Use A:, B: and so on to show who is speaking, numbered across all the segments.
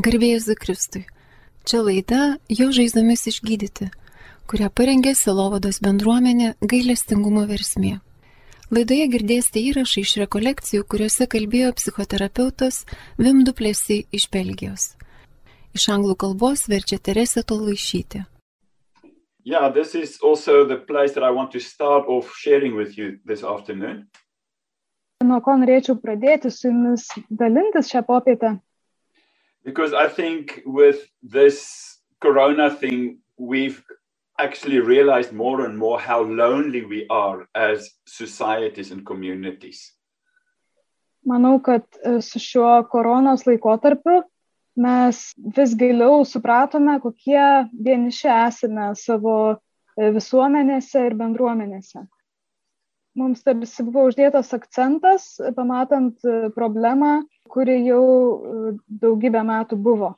A: Garbėjus Zikristui. Čia laida Jo žaizdomis išgydyti, kurią parengė Selovados bendruomenė gailestingumo versmė. Laidoje girdėsite įrašą iš rekolekcijų, kuriuose kalbėjo psichoterapeutas Vimduplėsi iš Belgijos. Iš anglų kalbos verčia Teresė Tolaišytė.
B: Yeah, this is also the place that I want to start off sharing with you this afternoon.
C: Nuo ko norėčiau pradėti su jumis dalintis šią popietę?
B: because I think with this corona thing, we've actually realized more and more how lonely we are as societies and communities.
C: Manau, kad e, su šiuo koronos laikotarpiu mes vis giliau supratome, kokie vieniši esame savo e, visuomenėse ir bendruomenėse. Mums tarsi buvo uždėtas akcentas, e, pamatant e, problemą kuri jau e, daugybę metų buvo.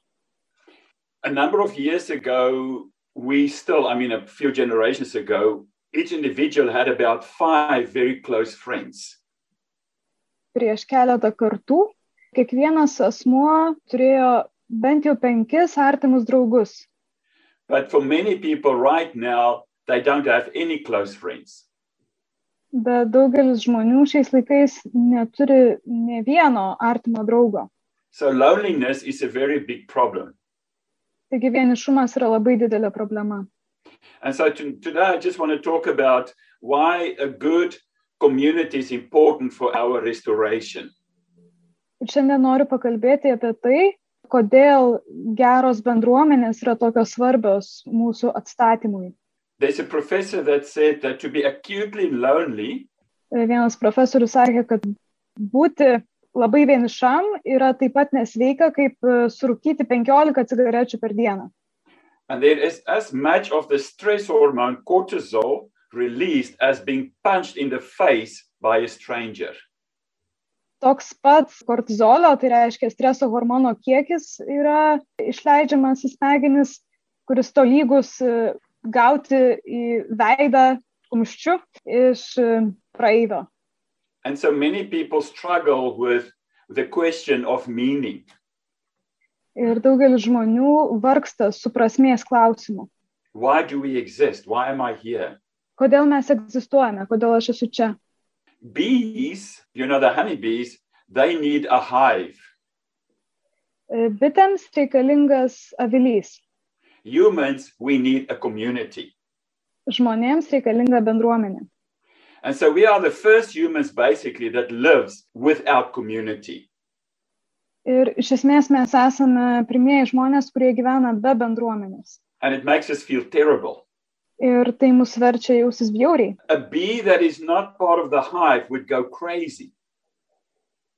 B: A number of years ago, we still, I mean, a few generations ago, each individual had about five very close friends.
C: Prieš keletą kartų kiekvienas asmuo turėjo bent jau penkis artimus draugus,
B: But for many people right now, they don't have any close friends.
C: bet daugelis žmonių šiais laikais neturi ne vieno artimo draugo.
B: So loneliness is a very big problem.
C: Taigi vienišumas yra labai didelė problema.
B: And so to, today, I just want to talk about why a good community is important for our restoration.
C: Ir šiandien noriu pakalbėti apie tai, kodėl geros bendruomenės yra tokios svarbios mūsų atstatymui.
B: There's a professor that said that to be acutely lonely
C: Vienas profesorius sakė, kad būti labai vienišam yra taip pat nesveika, kaip e, surūkyti 15 cigarečių per dieną.
B: And there is as much of the stress hormone cortisol released as being punched in the face by a stranger.
C: Toks pats kortizolio, tai reiškia streso hormono kiekis, yra išleidžiamas į smegenis, kuris tolygus e, gauti į veidą kumščiu iš e, praeivio.
B: And so many people struggle with the question of meaning.
C: Ir daugelis žmonių vargsta su prasmės klausimu.
B: Why do we exist? Why am I here?
C: Kodėl mes egzistuojame, kodėl aš esu čia?
B: Bees, you know, the honeybees, they need a hive.
C: E, Bitėms reikalingas avilys,
B: Humans, we need a community.
C: žmonėms reikalinga bendruomenė.
B: And so we are the first humans basically that lives without community.
C: Ir iš esmės mes esame pirmieji žmonės, kurie gyvena be bendruomenės.
B: And it makes us feel terrible.
C: Ir tai mus verčia jausis bjauriai.
B: a bee that is not part of the hive would go crazy.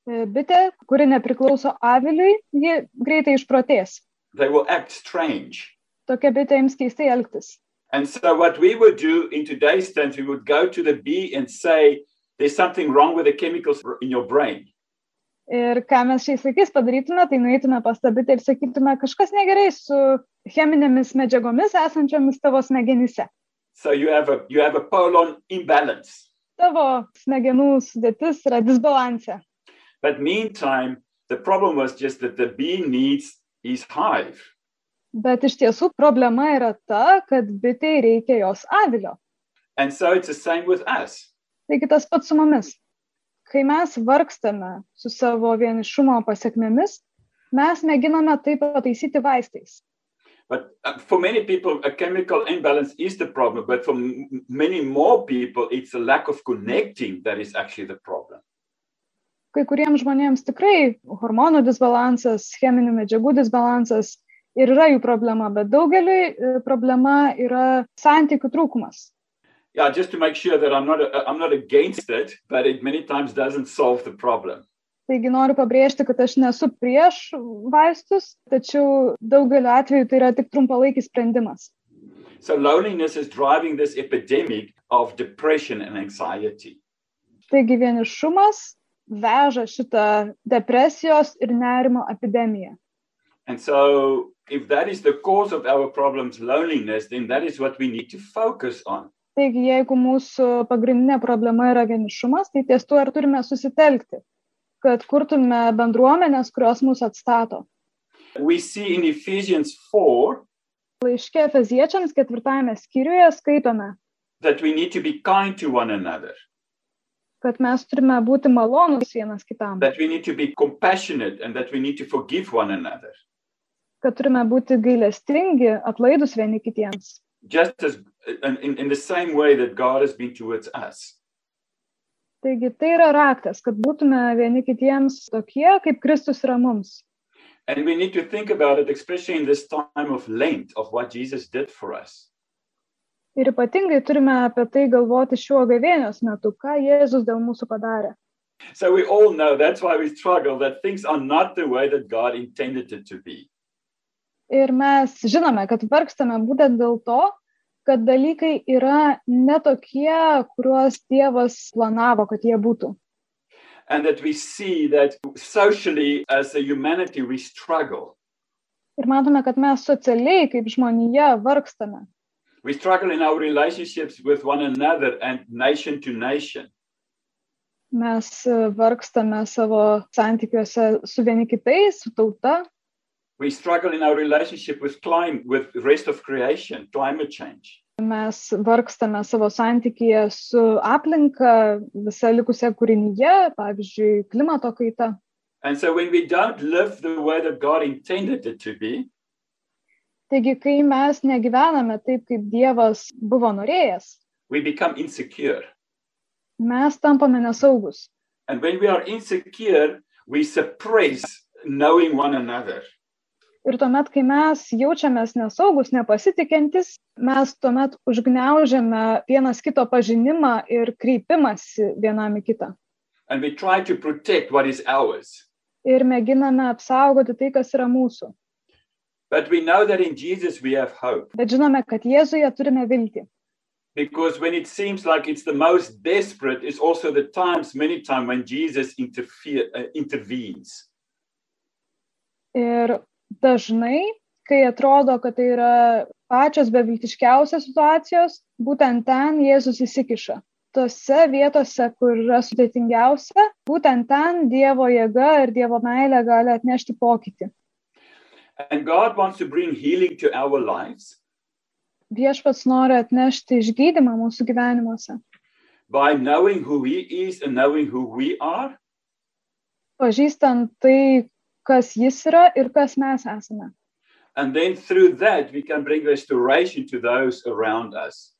C: E, Bitė, kuri nepriklauso aviliui, ji greitai išprotės.
B: They will act strange.
C: Tokia bitė jums keistai elgtis.
B: And so, what we would do in today's terms, we would go to the bee and say, There's something wrong with the chemicals in your brain.
C: Ir ką mes šiais laikais padarytume, tai nueitume pas tą bitę ir sakytume, kažkas negerai su cheminėmis medžiagomis esančiomis tavo smegenyse.
B: So, you have a, you have a polon imbalance.
C: Tavo smegenų sudėtis yra disbalanse.
B: But meantime, the problem was just that the bee needs his hive.
C: Bet iš tiesų problema yra ta, kad bitei reikia jos avilio.
B: And so, it's the same with us.
C: Taigi tas pats su mumis. Kai mes vargstame su savo vienišumo pasiekmėmis, mes mėginame tai pataisyti vaistais.
B: But uh, for many people, a chemical imbalance is the problem. But for m- many more people, it's a lack of connecting that is actually the problem.
C: Kai kuriems žmonėms tikrai hormonų disbalansas, cheminių medžiagų disbalansas ir yra jų problema, bet daugeliui e, problema yra santykių trūkumas.
B: yeah just to make sure that i'm not i'm not against it but it many times doesn't solve the problem
C: Taigi noriu pabrėžti, kad aš nesu prieš vaistus, tačiau daugeliu atveju tai yra tik trumpalaikis sprendimas.
B: so loneliness is driving this epidemic of depression and anxiety
C: Taigi vienišumas veža šitą depresijos ir nerimo epidemiją.
B: and so if that is the cause of our problems loneliness then that is what we need to focus on
C: Taigi, jeigu mūsų pagrindinė problema yra vienišumas, tai ties tuo ir turime susitelkti, kad kurtume bendruomenės, kurios mūsų atstato.
B: We see in Ephesians 4
C: Laiške Efeziečiams ketvirtame skyriuje skaitome,
B: that we need to be kind to one another,
C: kad mes turime būti malonus vienas kitam,
B: that we need to be compassionate, and that we need to forgive one another,
C: kad turime būti gailestingi, atlaidus vieni kitiems.
B: just as in, in in the same way that God has been towards us.
C: Taigi tai yra raktas, kad būtume vieni kitiems tokie, kaip Kristus yra mums.
B: And we need to think about it, especially in this time of Lent, of what Jesus did for us.
C: Ir ypatingai turime apie tai galvoti šiuo gavėnios metu, ką Jėzus dėl mūsų padarė.
B: So we all know that's why we struggle, that things are not the way that God intended it to be.
C: Ir mes žinome, kad vargstame būtent dėl to, kad dalykai yra netokie, kuriuos Dievas planavo, kad jie būtų.
B: And that we see that socially, as a humanity, we struggle.
C: Ir matome, kad mes socialiai kaip žmonija vargstame.
B: We struggle in our relationships with one another and nation to nation.
C: Mes e, vargstame savo santykiuose su vieni kitais, su tauta.
B: We struggle in our relationship with climate, with the rest of creation, climate change.
C: Mes vargstame savo santykiuje su aplinka, visa likusia kūrinyje, pavyzdžiui, klimato kaita.
B: And so when we don't live the way that God intended it to be,
C: Taigi, kai mes negyvename taip, kaip Dievas buvo norėjęs,
B: we become insecure.
C: mes tampame nesaugus.
B: And when we are insecure, we suppress knowing one another.
C: Ir tuomet, kai mes jaučiamės nesaugus, nepasitikintis, mes tuomet užgneužiame vienas kito pažinimą ir kreipimąsi vienam į kitą.
B: And we try to protect what is ours.
C: Ir mėginame apsaugoti tai, kas yra mūsų.
B: But we know that in Jesus we have hope
C: Bet žinome, kad Jėzuje turime viltį.
B: because when it seems like it's the most desperate, is also the times, many times, when Jesus interfere, uh, intervenes.
C: Ir dažnai, kai atrodo, kad tai yra pačios beviltiškiausios situacijos, būtent ten Jėzus įsikiša. Tose vietose, kur yra sudėtingiausia, būtent ten Dievo jėga ir Dievo meilė gali atnešti pokytį.
B: And God wants to bring healing to our lives
C: Viešpats nori atnešti išgydymą mūsų gyvenimuose,
B: by knowing who He is and knowing who we are,
C: pažįstant tai, kas jis yra ir kas mes esame.
B: and then through that we can bring restoration to those around us.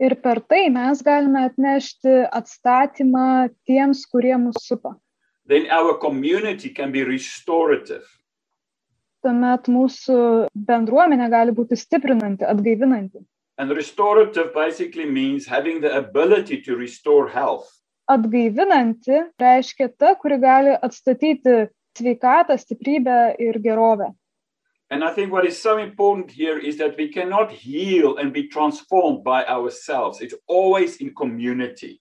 C: Ir per tai mes galime atnešti atstatymą tiems, kurie mūsų supa.
B: Then our community can be restorative.
C: Tuomet mūsų bendruomenė gali būti stiprinanti, atgaivinanti.
B: And restorative basically means having the ability to restore health.
C: Atgaivinanti reiškia ta, kuri gali atstatyti sveikatą, stiprybę ir gerovę.
B: And I think what is so important here is that we cannot heal and be transformed by ourselves. It's always in community.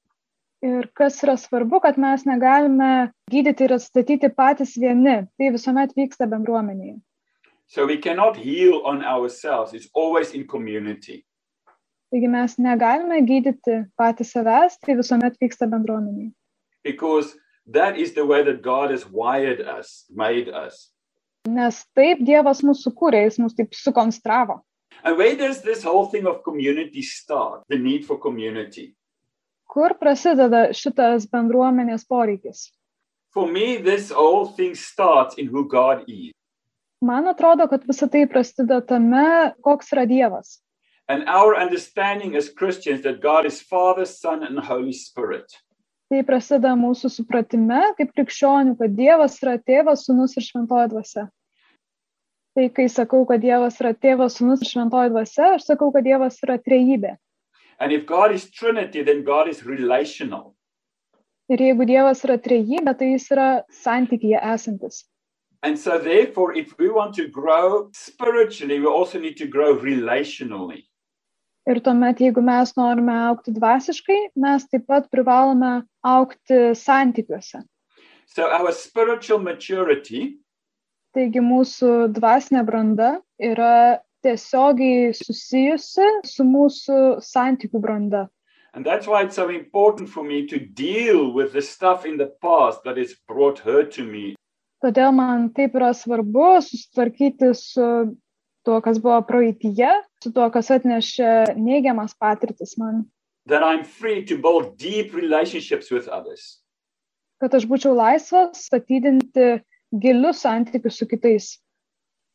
C: Ir kas yra svarbu, kad mes negalime gydyti ir atstatyti patys vieni. Tai visuomet vyksta bendruomenėje.
B: So we cannot heal on ourselves. It's always in community.
C: Taigi mes negalime gydyti patys savęs, tai visuomet vyksta bendruomeniai.
B: Because that is the way that God has wired us, made us.
C: Nes taip Dievas mūsų kūrė, jis mus taip sukonstravo.
B: And where does this whole thing of community start? The need for community.
C: Kur prasideda šitas bendruomenės poreikis?
B: For me, this whole thing starts in who God is.
C: Man atrodo, kad visa tai prasideda tame, koks yra Dievas.
B: And our understanding as Christians that God is Father, Son, and Holy Spirit.
C: Tai prasideda mūsų supratime kaip krikščionių, kad Dievas yra tėvas, sunus ir šventoji dvasia. Tai kai sakau, kad Dievas yra tėvas, sunus ir šventoji dvasia, aš sakau, kad Dievas yra trejybė.
B: And if God is Trinity, then God is relational.
C: Ir jeigu Dievas yra trejybė, tai jis yra santykyje esantis.
B: And so, therefore, if we want to grow spiritually, we also need to grow relationally.
C: Ir tuomet, jeigu mes norime aukti dvasiškai, mes taip pat privalome aukti santykiuose.
B: So, our spiritual maturity
C: Taigi mūsų dvasinė branda yra tiesiogiai susijusi su mūsų santykių branda.
B: And that's why it's so important for me to deal with the stuff in the past that has brought hurt to me.
C: Todėl man taip yra svarbu susitvarkyti su tuo, kas buvo praeitie, su tuo, kas atnešė neigiamas patirtis man.
B: That I'm free to build deep relationships with others.
C: Kad aš būčiau laisvas statydinti gilius santykius su kitais.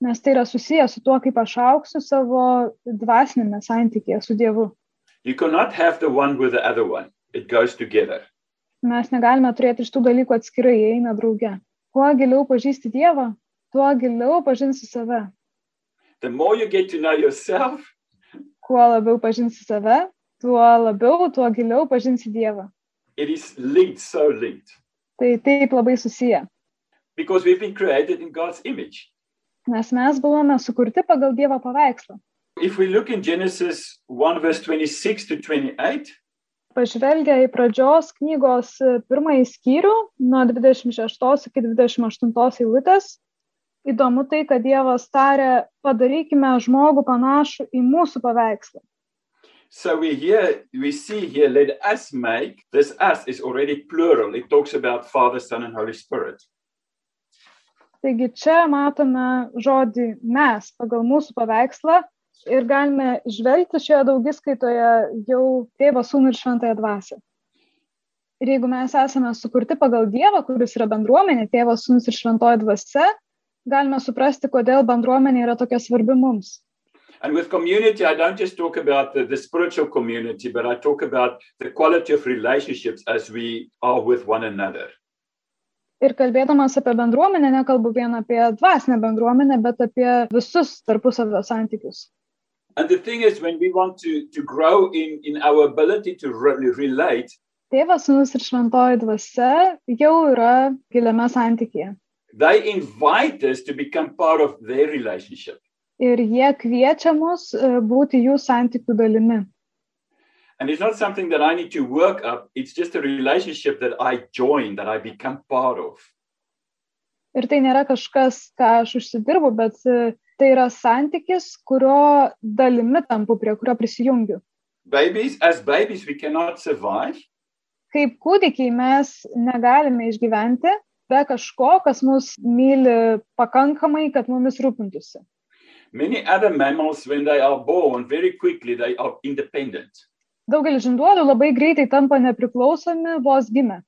C: Nes tai yra susijęs su tuo, kaip aš auksiu savo dvasinėme santykėje su Dievu.
B: You cannot have the one with the other one, it goes together.
C: Mes negalime turėti iš tų dalykų atskirai, jie eina drauge. Kuo giliau pažįsti Dievą, tuo giliau pažinsi save.
B: The more you get to know yourself,
C: Kuo labiau pažinsi save, tuo labiau, tuo giliau pažinsi Dievą.
B: it is linked, so linked,
C: Tai taip labai susiję.
B: because we've been created in God's image.
C: Nes mes buvome sukurti pagal Dievo paveikslą.
B: If we look in Genesis 1, verse 26 to 28,
C: Pažvelgę į pradžios knygos e, pirmąjį skyrių nuo 26 iki 28 eilutės, įdomu tai, kad Dievas tarė, padarykime žmogų panašų į mūsų paveikslą.
B: so we here we see here, let us make this us is already plural. It talks about Father, Son, and Holy Spirit.
C: Taigi čia matome žodį mes pagal mūsų paveikslą ir galime žvelgti šioje daugiskaitoje jau tėvą sūnų ir šventąją dvasę. Ir jeigu mes esame sukurti pagal Dievą, kuris yra bendruomenė, tėvas sūnus ir šventoji dvasia, galime suprasti, kodėl bendruomenė yra tokia svarbi mums.
B: And with community, I don't just talk about the, the spiritual community, but I talk about the quality of relationships as we are with one another.
C: Ir kalbėdamas apie bendruomenę, nekalbu vien apie dvasinę bendruomenę, bet apie visus tarpusavio santykius.
B: And the thing is, when we want to, to grow in, in our ability to re- relate,
C: Tėvas, sūnus ir šventoji dvasia jau yra giliame santykėje.
B: they invite us to become part of their relationship.
C: ir jie kviečia mus e, būti jų santykių dalimi.
B: And it's not something that I need to work up, it's just a relationship that I join, that I become part of.
C: Ir tai nėra kažkas, ką aš užsidirbu, bet e, tai yra santykis, kurio dalimi tampu, prie kurio prisijungiu.
B: Babies, as babies, we cannot survive.
C: Kaip kūdikiai mes negalime išgyventi be kažko, kas mus myli pakankamai, kad mumis rūpintųsi.
B: Many other mammals, when they are born, very quickly they are independent.
C: Daugelis žinduolių labai greitai tampa nepriklausomi vos gimę.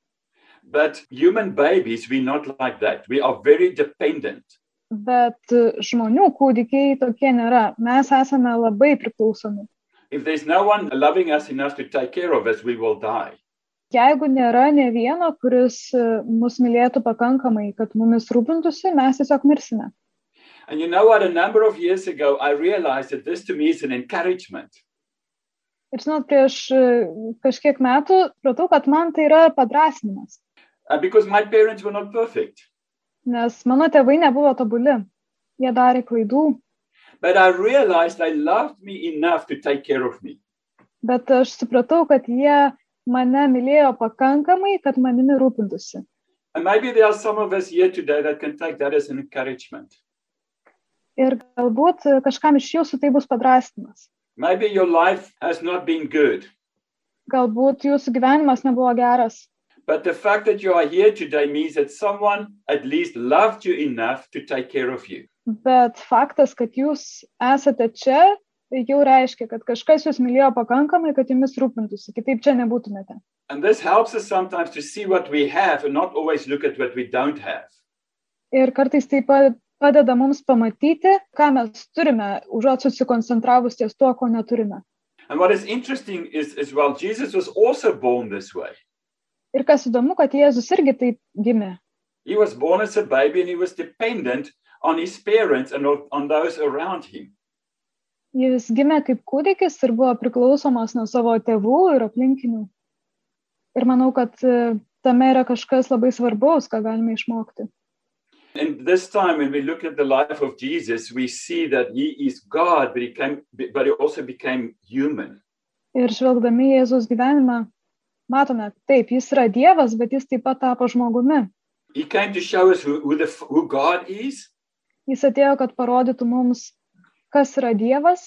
B: But human babies, we're not like that. We are very dependent.
C: Bet e, žmonių kūdikiai tokie nėra. Mes esame labai priklausomi.
B: If there's no one loving us enough to take care of us, we will die.
C: jeigu nėra ne vieno, kuris e, mus mylėtų pakankamai, kad mumis rūpintųsi, mes tiesiog mirsime.
B: And you know what? A number of years ago, I realized that this to me is an encouragement.
C: Ir žinot, prieš e, kažkiek metų pratau, kad man tai yra padrasinimas,
B: Uh, because my parents were not perfect.
C: nes mano tėvai nebuvo tobuli, jie darė klaidų,
B: But I realized they loved me enough to take care of me.
C: bet aš supratau, kad jie mane mylėjo pakankamai, kad manimi rūpintųsi.
B: And maybe there are some of us here today that can take that as an encouragement.
C: Ir galbūt e, kažkam iš jūsų tai bus padrasinimas.
B: Maybe your life has not been good,
C: Galbūt jūsų gyvenimas nebuvo geras,
B: but the fact that you are here today means that someone at least loved you enough to take care of you.
C: Bet faktas, kad jūs esate čia, jau reiškia, kad kažkas jūs mylėjo pakankamai, kad jumis rūpintųsi, kitaip čia nebūtumėte.
B: And this helps us sometimes to see what we have and not always look at what we don't have.
C: Ir kartais tai pa- padeda mums pamatyti, ką mes turime, užuot susikoncentravus ties tuo, ko neturime.
B: And what is interesting is, as well, Jesus was also born this way.
C: Ir kas įdomu, kad Jėzus irgi taip gimė.
B: He was born as a baby and he was dependent on his parents and on on those around him.
C: Jis gimė kaip kūdikis ir buvo priklausomas nuo savo tėvų ir aplinkinių. Ir manau, kad e, tame yra kažkas labai svarbaus, ką galime išmokti.
B: And this time, when we look at the life of Jesus, we see that he is God, but he, came, but he also became human.
C: Ir žvelgdami į Jėzus gyvenimą, matome, taip, jis yra Dievas, bet jis taip pat tapo žmogumi.
B: He came to show us who, who, the, f- who God is,
C: Jis atėjo, kad parodytų mums, kas yra Dievas.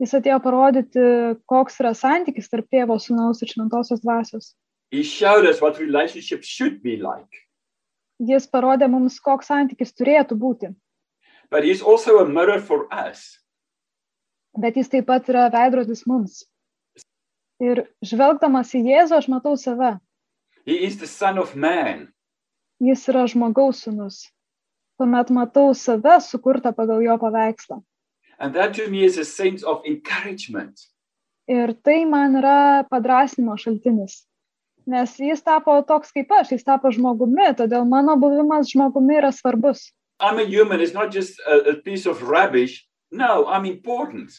C: Jis atėjo parodyti, koks yra santykis tarp tėvo, sunaus ir šventosios dvasios.
B: he showed us what relationship should be like.
C: jis parodė mums, koks santykis turėtų būti.
B: But he's also a mirror for us.
C: Bet jis taip pat yra veidrodis mums. Ir žvelgdamas į Jėzų, aš matau save.
B: He is the Son of Man.
C: Jis yra žmogaus sunus. Tuomet matau save sukurtą pagal jo paveikslą.
B: And that to me is a sense of encouragement.
C: Ir tai man yra padrasnimo šaltinis. Nes jis tapo toks kaip aš, jis tapo žmogumi, todėl mano buvimas žmogumi yra svarbus.
B: I'm a human, it's not just a, a piece of rubbish. No, I'm important.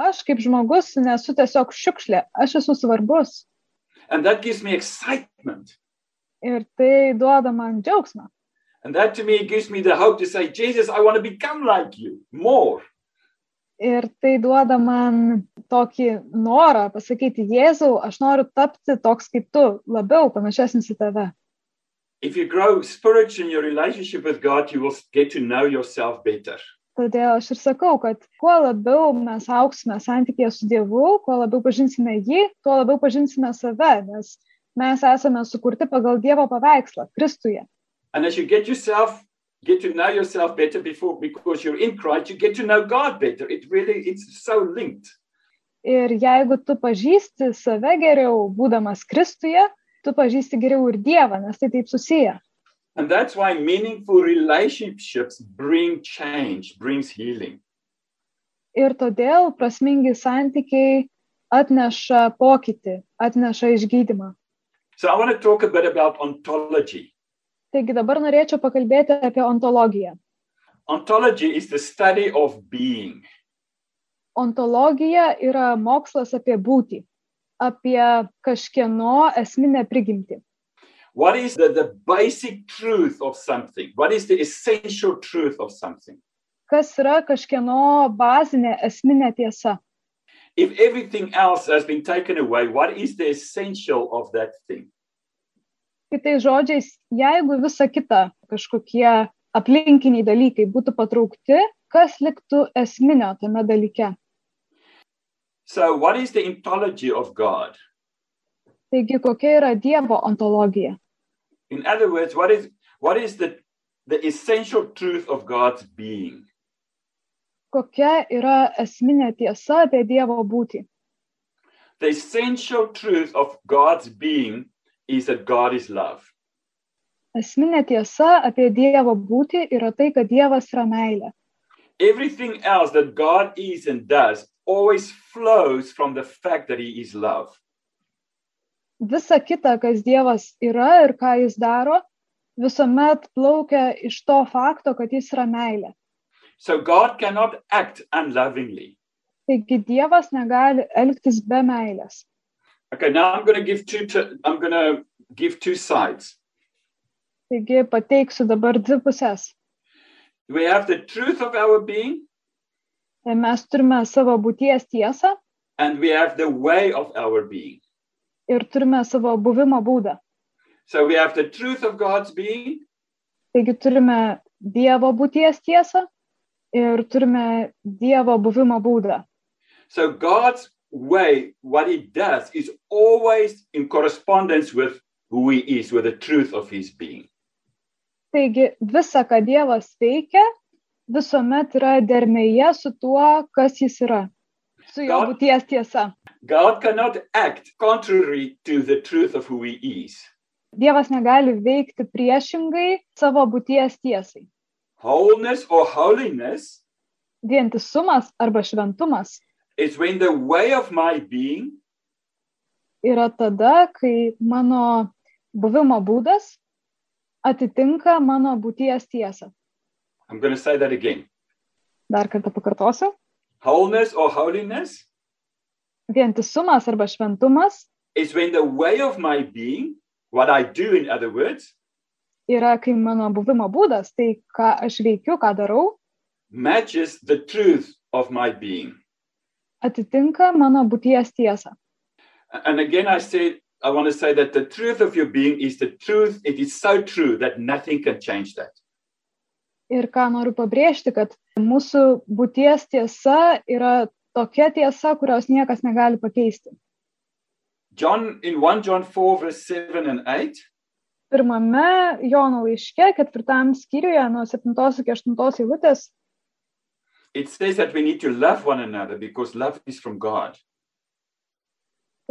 C: Aš kaip žmogus nesu tiesiog šiukšlė, aš esu svarbus.
B: And that gives me excitement.
C: Ir tai duoda man džiaugsmą.
B: And that to me gives me the hope to say, Jesus, I want to become like you more.
C: Ir tai duoda man tokį norą pasakyti, Jėzau, aš noriu tapti toks kaip tu, labiau panašesnis į tave.
B: If you grow spiritually in your relationship with God, you will get to know yourself better.
C: Todėl aš ir sakau, kad kuo labiau mes auksime santykėje su Dievu, kuo labiau pažinsime jį, tuo labiau pažinsime save, nes mes esame sukurti pagal Dievo paveikslą, Kristuje.
B: And as you get yourself, get to know yourself better before because you're in Christ, you get to know God better. It really it's so linked.
C: Ir jeigu tu pažįsti save geriau, būdamas Kristuje, tu pažįsti geriau ir Dievą, nes tai taip susiję.
B: And that's why meaningful relationships bring change, brings healing.
C: Ir todėl prasmingi santykiai atneša pokytį, atneša išgydymą.
B: So I want to talk a bit about ontology.
C: Taigi dabar norėčiau pakalbėti apie ontologiją.
B: Ontology is the study of being.
C: Ontologija yra mokslas apie būtį, apie kažkieno esminę prigimtį.
B: What is the, the basic truth of something? What is the essential truth of something?
C: Kas yra kažkieno bazinė esminė tiesa?
B: If everything else has been taken away, what is the essential of that thing?
C: Kitais žodžiais, jeigu visa kita kažkokie aplinkiniai dalykai būtų patraukti, kas liktų esminio tame dalyke?
B: So, what is the ontology of God?
C: Taigi, kokia yra Dievo ontologija?
B: In other words, what is what is the the essential truth of God's being?
C: Kokia yra esminė tiesa apie Dievo būtį?
B: The essential truth of God's being is that God is love.
C: Esminė tiesa apie Dievo būtį yra tai, kad Dievas yra meilė.
B: Everything else that God is and does always flows from the fact that He is love.
C: Visa kita, kas Dievas yra ir ką jis daro, visuomet plaukia iš to fakto, kad jis yra meilė.
B: So God cannot act unlovingly.
C: Taigi Dievas negali elgtis be meilės.
B: Okay, now I'm going to give two. T- I'm going to give two sides.
C: Taigi pateiksiu dabar dvi pusės.
B: We have the truth of our being,
C: Tai Mes turime savo būties tiesą
B: and we have the way of our being.
C: ir turime savo buvimo būdą.
B: So we have the truth of God's being,
C: Taigi turime Dievo būties tiesą ir turime Dievo buvimo būdą.
B: So God's way, what he does, is always in correspondence with who he is, with the truth of his being.
C: Taigi visa, ką Dievas veikia, visuomet yra dermėje su tuo, kas jis yra, su jo
B: Gal-
C: būties tiesa.
B: God cannot act contrary to the truth of who he is.
C: Dievas negali veikti priešingai savo būties tiesai.
B: Wholeness or holiness
C: Vientisumas arba šventumas
B: is when the way of my being
C: yra tada, kai mano buvimo būdas atitinka mano būties tiesą.
B: I'm going to say that again.
C: Dar kartą pakartosiu.
B: Wholeness or holiness
C: Vientisumas arba šventumas
B: is when the way of my being, what I do, in other words,
C: yra, kai mano buvimo būdas, tai ką aš veikiu, ką darau,
B: matches the truth of my being.
C: atitinka mano būties tiesą.
B: And again, I say, I want to say that the truth of your being is the truth. It is so true that nothing can change that.
C: Ir ką noriu pabrėžti, kad mūsų būties tiesa yra tokia tiesa, kurios niekas negali pakeisti.
B: John, in 1 John 4, verse 7 and 8,
C: pirmame Jono laiške, ketvirtam skyriuje, nuo 7 iki 8 eilutės,
B: It says that we need to love one another because love is from God.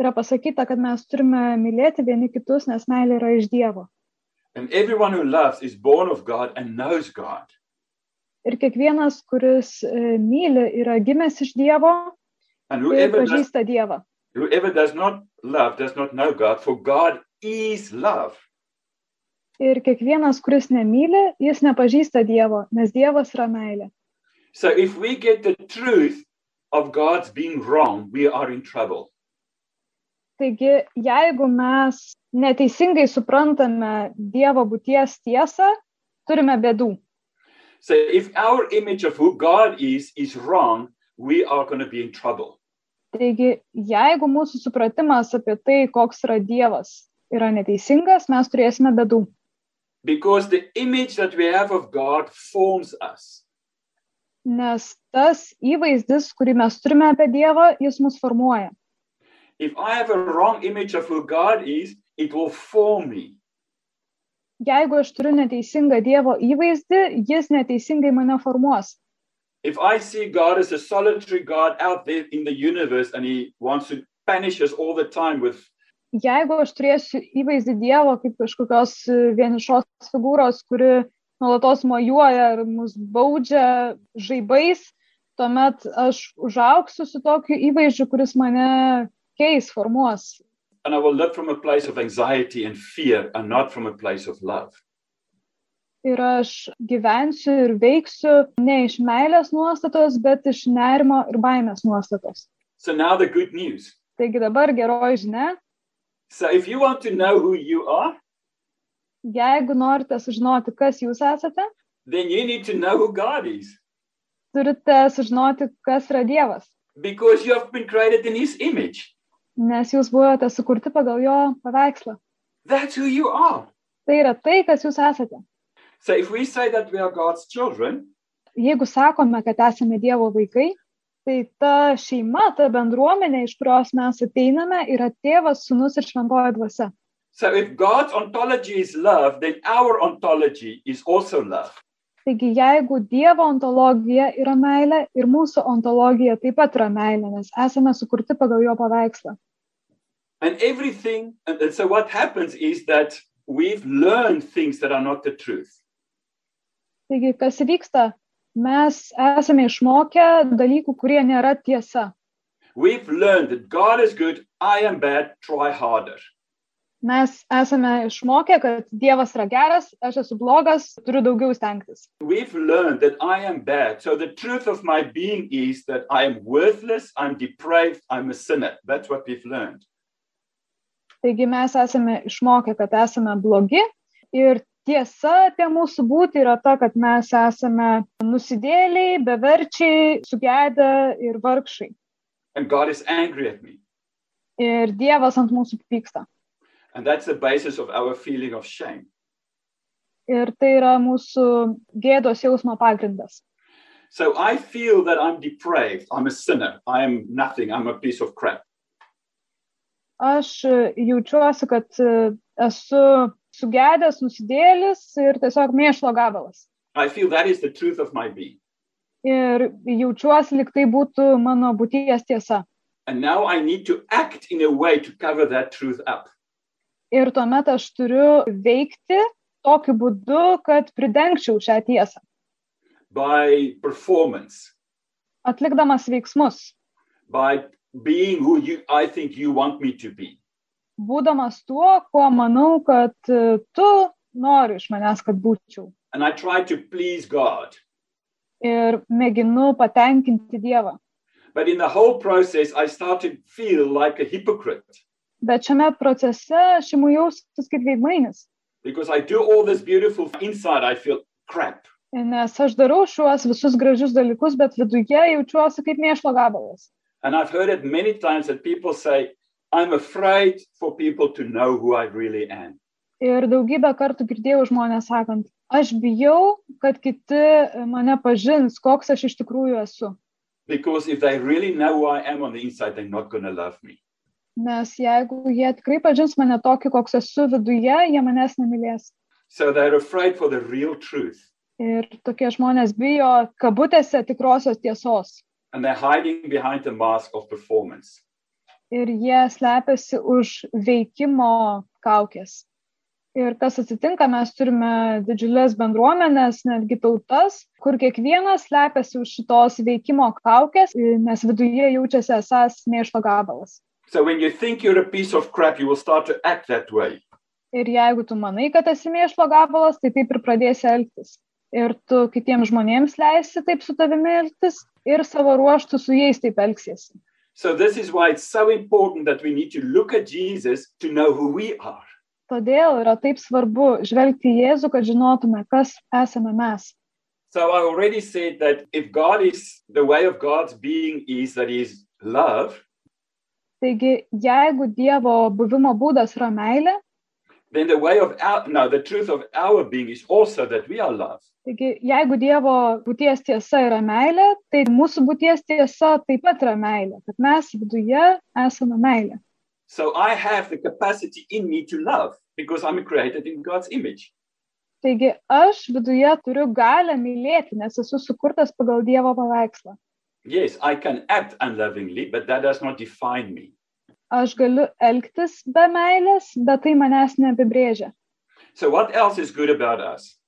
C: yra pasakyta, kad mes turime mylėti vieni kitus, nes meilė yra iš Dievo.
B: And everyone who loves is born of God and knows God.
C: Ir kiekvienas, kuris e, myli, yra gimęs iš Dievo
B: And
C: ir
B: whoever does,
C: pažįsta Dievą.
B: whoever does not love does not know God, for God is love.
C: Ir kiekvienas, kuris nemyli, jis nepažįsta Dievo, nes Dievas yra meilė.
B: So if we get the truth of God's being wrong, we are in trouble.
C: Taigi, jeigu mes neteisingai suprantame Dievo būties tiesą, turime bėdų.
B: So if our image of who God is is wrong, we are going to be in trouble.
C: Taigi, jeigu mūsų supratimas apie tai, koks yra Dievas, yra neteisingas, mes turėsime bėdų.
B: Because the image that we have of God forms us.
C: Nes tas įvaizdis, kurį mes turime apie Dievą, jis mus formuoja.
B: If I have a wrong image of who God is, it will form me.
C: Jeigu aš turiu neteisingą Dievo įvaizdį, jis neteisingai mane formuos.
B: If I see God as a solitary God out there in the universe and he wants to punish us all the time with
C: jeigu aš turėsiu įvaizdį Dievo kaip kažkokios e, vienišos figūros, kuri nuolatos mojuoja ir mus baudžia žaibais, tuomet aš užauksiu su tokiu įvaizdžiu, kuris mane keis, formuos.
B: and I will live from a place of anxiety and fear and not from a place of love.
C: Ir aš gyvensiu ir veiksiu ne iš meilės nuostatos, bet iš nerimo ir baimės nuostatos.
B: So now the good news.
C: Taigi dabar geroji žinia,
B: So if you want to know who you are,
C: jeigu norite sužinoti, kas jūs esate,
B: then you need to know who God is
C: turite sužinoti, kas yra Dievas.
B: because you have been created in his image.
C: nes jūs buvote sukurti pagal jo paveikslą.
B: That's who you are.
C: Tai yra tai, kas jūs esate.
B: So if we say that we are God's children,
C: Jeigu sakome, kad esame Dievo vaikai, tai ta šeima, ta bendruomenė, iš kurios mes ateiname, yra tėvas, sunus ir šventoji dvasia.
B: so if God's ontology is love, then our ontology is also love.
C: Taigi, jeigu Dievo ontologija yra meilė ir mūsų ontologija taip pat yra meilė, nes esame sukurti pagal jo paveikslą.
B: And everything, and and so what happens is that we've learned things that are not the truth.
C: Taigi, kas vyksta? Mes esame išmokę dalykų, kurie nėra tiesa.
B: We've learned that God is good, I am bad, try harder.
C: Mes esame išmokę, kad Dievas yra geras, aš esu blogas, turiu daugiau stengtis.
B: We've learned that I am bad. So the truth of my being is that I am worthless, I'm depraved, I'm a sinner. That's what we've learned.
C: Taigi mes esame išmokę, kad esame blogi ir tiesa apie mūsų būti yra ta, kad mes esame nusidėliai, beverčiai, sugedę ir vargšai.
B: And God is angry at me.
C: Ir Dievas ant mūsų pyksta.
B: And that's the basis of our feeling of shame.
C: Ir tai yra mūsų gėdos jausmo pagrindas.
B: So I feel that I'm depraved, I'm a sinner, I am nothing, I'm a piece of crap.
C: Aš e, jaučiuosi, kad e, esu sugedęs, nusidėlis ir tiesiog mėšlo gabalas.
B: I feel that is the truth of my being.
C: ir jaučiuosi, lyg tai būtų mano būties tiesa.
B: And now I need to act in a way to cover that truth up.
C: Ir tuomet aš turiu veikti tokiu būdu, kad pridengčiau šią tiesą,
B: by performance,
C: atlikdamas veiksmus,
B: by being who you I think you want me to be.
C: būdamas tuo, kuo manau, kad e, tu nori iš manęs, kad būčiau.
B: And I try to please God.
C: Ir mėginu patenkinti Dievą.
B: But in the whole process, I start to feel like a hypocrite
C: Bet šiame procese aš imu jaustis kaip veidmainis,
B: because I do all this beautiful inside, I feel crap.
C: nes aš darau šiuos visus gražius dalykus, bet viduje jaučiuosi kaip mėšlo gabalas.
B: And I've heard it many times that people say, I'm afraid for people to know who I really am.
C: Ir daugybę kartų girdėjau žmonės sakant, aš bijau, kad kiti mane pažins, koks aš iš tikrųjų esu.
B: Because if they really know who I am on the inside, they're not going to love me.
C: nes jeigu jie tikrai pažins mane tokį, koks esu viduje, jie manęs nemylės.
B: So they're afraid for the real truth
C: Ir tokie žmonės bijo kabutėse tikrosios tiesos.
B: and they're hiding behind the mask of performance.
C: ir jie slepiasi už veikimo kaukės. Ir kas atsitinka, mes turime didžiulės bendruomenės, netgi tautas, kur kiekvienas slepiasi už šitos veikimo kaukės, i- nes viduje jaučiasi esas neišto gabalas.
B: So when you think you're a piece of crap, you will start to act that way.
C: Ir jeigu tu manai, kad esi neišto gabalas, tai taip ir pradėsi elgtis. Ir tu kitiems žmonėms leisi taip su tavimi elgtis ir savo ruoštų su jais taip elgsiesi.
B: So this is why it's so important that we need to look at Jesus to know who we are.
C: Todėl yra taip svarbu žvelgti į Jėzų, kad žinotume, kas esame mes.
B: So I already said that if God is the way of God's being is that he is love,
C: Taigi, jeigu Dievo buvimo būdas yra meilė,
B: then the way of our no, the truth of our being is also that we are love.
C: taigi, jeigu Dievo būties tiesa yra meilė, tai mūsų būties tiesa taip pat yra meilė, kad mes viduje esame meilė.
B: So I have the capacity in me to love because I'm created in God's image.
C: Taigi, aš viduje turiu galę mylėti, nes esu sukurtas pagal Dievo paveikslą.
B: Yes, I can act unlovingly, but that does not define me.
C: Aš galiu elgtis be meilės, bet tai manęs neapibrėžia.
B: So what else is good about us?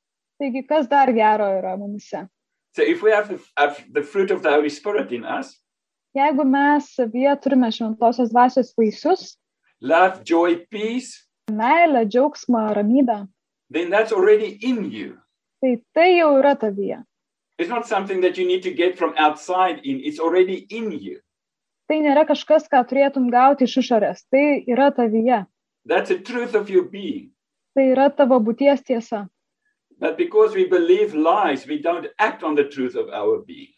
C: Taigi, kas dar gero yra mumise?
B: So if we have the, have the fruit of the Holy Spirit in us,
C: Jeigu mes savyje turime šventosios dvasios vaisius
B: — love, joy, peace,
C: - meilę, džiaugsmą, ramybę,
B: then that's already in you.
C: tai tai jau yra tavyje.
B: It's not something that you need to get from outside in, it's already in you.
C: Tai nėra kažkas, ką turėtum gauti iš išorės, tai yra tavyje,
B: That's the truth of your being.
C: tai yra tavo būties tiesa.
B: But because we believe lies, we don't act on the truth of our being.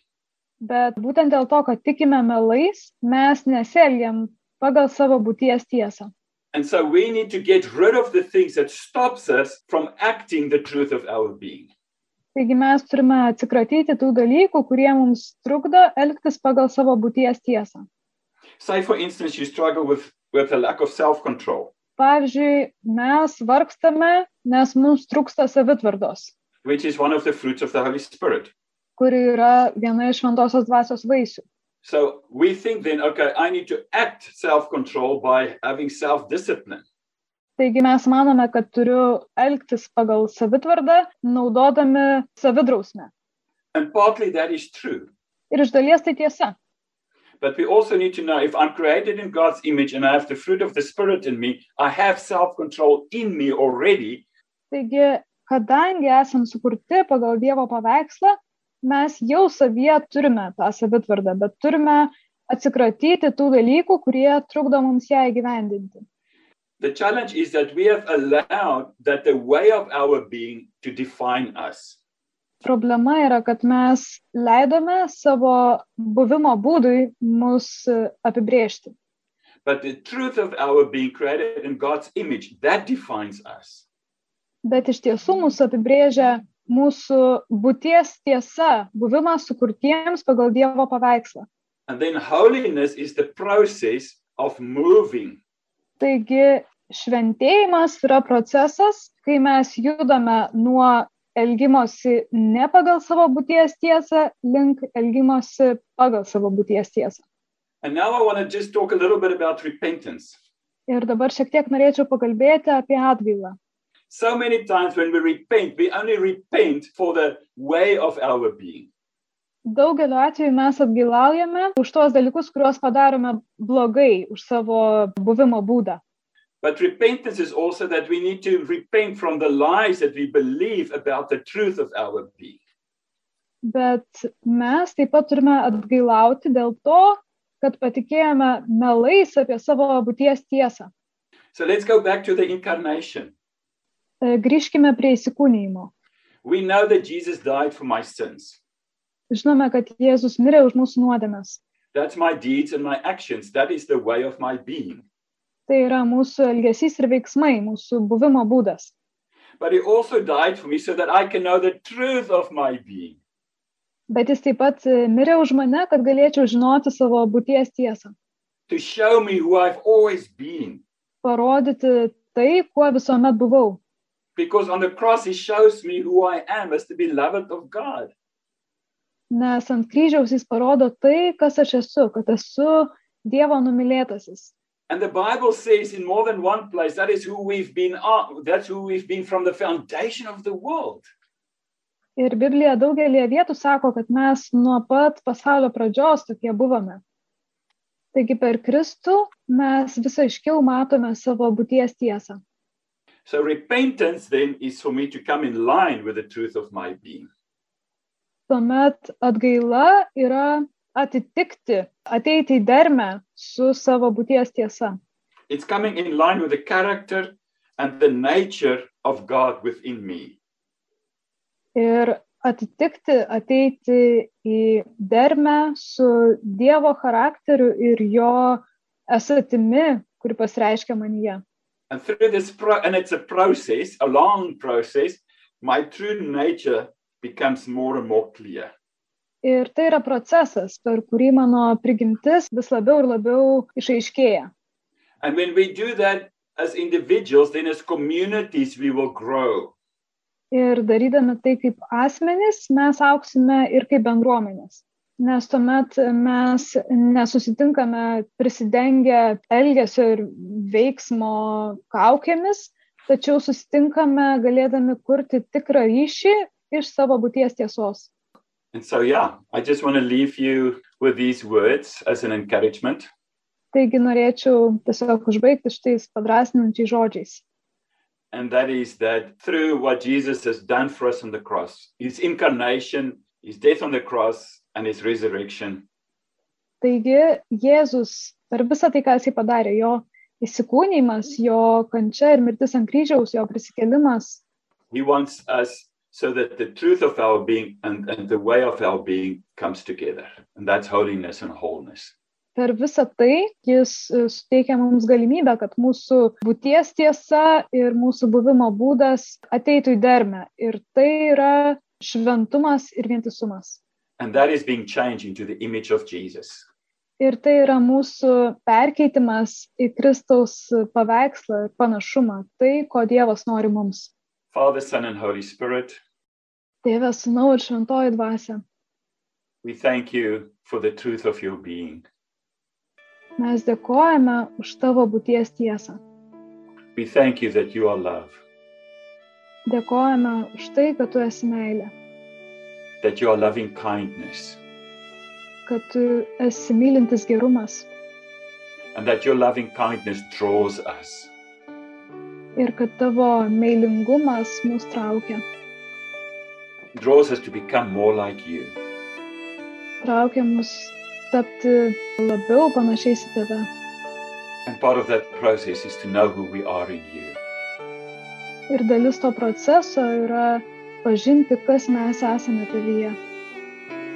C: Bet būtent dėl to, kad tikime melais, mes nesielgiam pagal savo būties tiesą.
B: And so we need to get rid of the things that stops us from acting the truth of our being.
C: Taigi mes turime atsikratyti tų dalykų, kurie mums trukdo elgtis pagal savo būties tiesą.
B: Say, for instance, you struggle with, with a lack of self-control.
C: Pavyzdžiui, mes vargstame, nes mums trūksta savitvardos,
B: which is one of the fruits of the Holy Spirit.
C: kuri yra viena iš šventosios dvasios vaisių.
B: So we think then, okay, I need to act self control by having self discipline.
C: Taigi mes manome, kad turiu elgtis pagal savitvardą, naudodami savidrausmę.
B: And partly that is true.
C: Ir iš dalies tai tiesa.
B: But we also need to know if I'm created in God's image and I have the fruit of the Spirit in me, I have self control in me already.
C: Taigi, kadangi esam sukurti pagal Dievo paveikslą, mes jau savyje turime tą savitvardą, bet turime atsikratyti tų dalykų, kurie trukdo mums ją įgyvendinti.
B: The challenge is that we have allowed that the way of our being to define us.
C: Problema yra, kad mes leidome savo buvimo būdui mus e, apibrėžti.
B: But the truth of our being created in God's image, that defines us.
C: bet iš tiesų mūsų apibrėžia mūsų būties tiesa, buvimas sukurtiems pagal Dievo paveikslą.
B: And then holiness is the process of moving
C: Taigi šventėjimas yra procesas, kai mes judame nuo elgimosi ne pagal savo būties tiesą, link elgimosi pagal savo būties tiesą.
B: And now I want to just talk a little bit about repentance.
C: Ir dabar šiek tiek norėčiau pakalbėti apie atgailą.
B: So many times when we repent, we only repent for the way of our being.
C: Daugeliu atveju mes atgailaujame už tuos dalykus, kuriuos padarome blogai, už savo buvimo būdą.
B: But repentance is also that we need to repent from the lies that we believe about the truth of our being.
C: Bet mes taip pat turime atgailauti dėl to, kad patikėjome melais apie savo būties tiesą.
B: So let's go back to the incarnation.
C: E, Grįžkime prie įsikūnymo.
B: We know that Jesus died for my sins.
C: Žinome, kad Jėzus mirė už mūsų nuodėmes.
B: That's my deeds and my actions. That is the way of my being.
C: Tai yra mūsų elgesys ir veiksmai, mūsų buvimo būdas.
B: But he also died for me so that I can know the truth of my being.
C: Bet jis taip pat e, mirė už mane, kad galėčiau žinoti savo būties tiesą.
B: to show me who I've always been.
C: parodyti tai, kuo visuomet buvau.
B: Because on the cross, He shows me who I am as the beloved of God.
C: Nes ant kryžiaus jis parodo tai, kas aš esu, kad esu Dievo numylėtasis.
B: And the Bible says in more than one place that is who we've been are. That's who we've been from the foundation of the world.
C: Ir Biblija daugelie vietų sako, kad mes nuo pat pasaulio pradžios tokie buvome. Taigi per Kristų mes visą iškiau matome savo būties tiesą.
B: So repentance then is for me to come in line with the truth of my being.
C: Tuomet atgaila yra atitikti, ateiti į dermę su savo būties tiesa.
B: It's coming in line with the character and the nature of God within me.
C: Ir atitikti, ateiti į dermę su Dievo charakteriu ir jo esatimi, kuri pasireiškia manyje.
B: And through this, pro- and it's a process, a long process, my true nature becomes more and more clear.
C: Ir tai yra procesas, per kurį mano prigimtis vis labiau ir labiau išaiškėja.
B: And when we do that as individuals, then as communities, we will grow.
C: Ir darydami tai kaip asmenys, mes auksime ir kaip bendruomenės. Nes tuomet mes nesusitinkame prisidengę elgesio ir veiksmo kaukėmis, tačiau susitinkame galėdami kurti tikrą ryšį iš savo būties tiesos.
B: And so, yeah, I just want to leave you with these words as an encouragement.
C: Taigi norėčiau tiesiog užbaigti šitais padrasinančiais žodžiais.
B: And that is that through what Jesus has done for us on the cross, his incarnation, his death on the cross, and his resurrection,
C: Taigi Jėzus per visą tai, ką jisai padarė, jo įsikūnymas, jo kančia ir mirtis ant kryžiaus, jo prisikėlimas,
B: he wants us so that the truth of our being and, and the way of our being comes together. And that's holiness and wholeness.
C: per visą tai jis e, suteikia mums galimybę, kad mūsų būties tiesa ir mūsų buvimo būdas ateitų į dermę. Ir tai yra šventumas ir vientisumas.
B: And that is being changed into the image of Jesus.
C: Ir tai yra mūsų perkeitimas į Kristaus paveikslą ir panašumą, tai, ko Dievas nori mums.
B: Father, Son, and Holy Spirit,
C: Tėvės, Sūnau ir Šventoji Dvasia.
B: we thank you for the truth of your being.
C: Mes dėkojame už tavo būties tiesą.
B: We thank you that you are love,
C: Dėkojame už tai, kad tu esi meilė,
B: that you are loving kindness,
C: kad tu esi mylintis gerumas
B: and that your loving kindness draws us.
C: ir kad tavo meilingumas mus traukia.
B: draws us to become more like you.
C: Traukia mus tapti labiau panašiais į tave.
B: And part of that process is to know who we are in you.
C: Ir dalis to proceso yra pažinti, kas mes esame tavyje.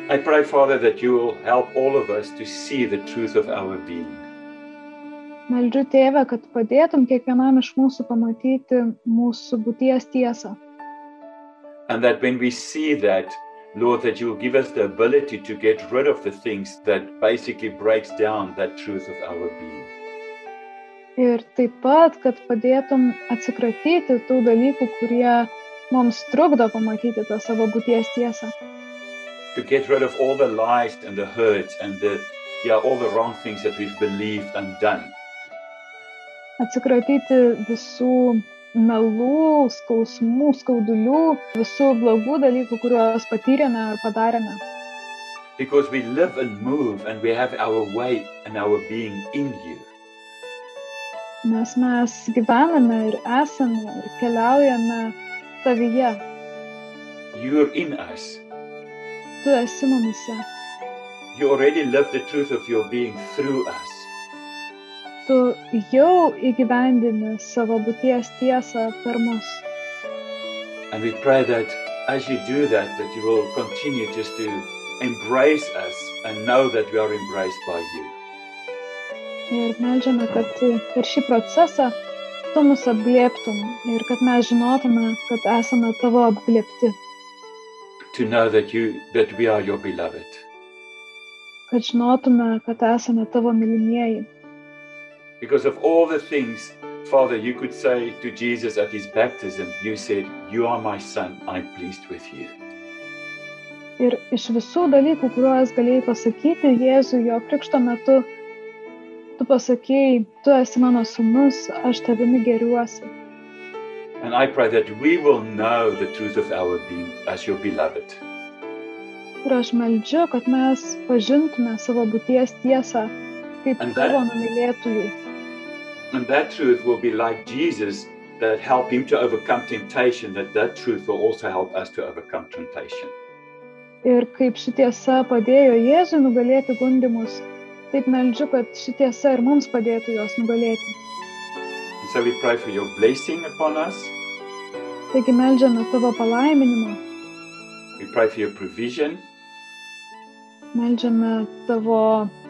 B: I pray, Father, that you will help all of us to see the truth of our being.
C: Meldžiu tėvę, kad padėtum kiekvienam iš mūsų pamatyti mūsų būties tiesą.
B: And that when we see that, Lord, that you will give us the ability to get rid of the things that basically breaks down that truth of our being.
C: Ir taip pat, kad padėtum atsikratyti tų dalykų, kurie mums trukdo pamatyti tą savo būties tiesą.
B: To get rid of all the lies and the hurts and the yeah, all the wrong things that we've believed and done.
C: Atsikratyti visų melų, skausmų, skaudulių, visų blogų dalykų, kuriuos patyrėme ar padarėme.
B: Because we live and move and we have our way and our being in you.
C: Nes mes gyvename ir esame ir keliaujame tavyje.
B: You're in us.
C: Tu esi mumise.
B: You already live the truth of your being through us.
C: Tu jau įgyvendini savo būties tiesą per mus.
B: And we pray that as you do that, that you will continue just to embrace us and know that we are embraced by you.
C: Ir melžiame, kad e, per šį procesą tu mus apglėptum ir kad mes žinotume, kad esame tavo apglėpti,
B: To know that you that we are your beloved.
C: kad žinotume, kad esame tavo mylimieji,
B: Because of all the things, Father, you could say to Jesus at his baptism, you said, You are my son, I'm pleased with you.
C: Ir iš visų dalykų, kuriuos galėjai pasakyti Jėzui jo krikšto metu, tu pasakėjai, tu esi mano sunus, aš tavimi geriuosi.
B: And I pray that we will know the truth of our being as your beloved.
C: Ir aš meldžiu, kad mes pažintume savo būties tiesą kaip
B: Ant-
C: tavo numylėtųjų.
B: And that truth will be like Jesus that helped him to overcome temptation, that that truth will also help us to overcome temptation.
C: Ir kaip ši tiesa padėjo Jėzui nugalėti gundimus, taip meldžiu, kad ši tiesa ir mums padėtų juos nugalėti.
B: And so we pray for your blessing upon us.
C: Taigi meldžiame tavo palaiminimo,
B: We pray for your provision.
C: meldžiame tavo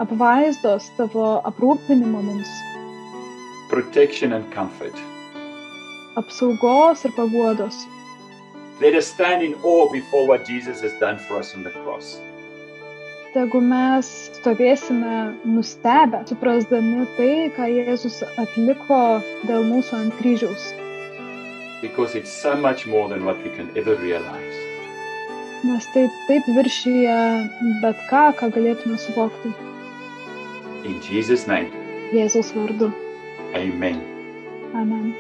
C: apvaizdos, tavo aprūpinimo mums,
B: protection and comfort.
C: apsaugos ir paguodos.
B: Let us stand in awe before what Jesus has done for us on the cross.
C: Tegu mes stovėsime nustebę, suprasdami tai, ką Jėzus atliko dėl mūsų ant kryžiaus,
B: Because it's so much more than what we can ever realize.
C: nes tai taip viršyje bet ką, ką galėtume suvokti
B: In Jesus' name,
C: Jėzaus vardu.
B: amen.
C: Amen.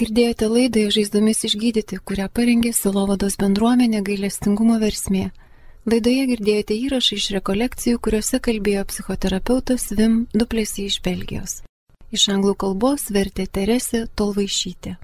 A: Girdėjote laidą Žaizdomis išgydyti, kurią parengė Silovados bendruomenė gailestingumo versmė. Laidoje girdėjote įrašą iš rekolekcijų, kuriuose kalbėjo psichoterapeutas Vim Duplėsi iš Belgijos. Iš anglų kalbos vertė Teresė Tolvaišytė.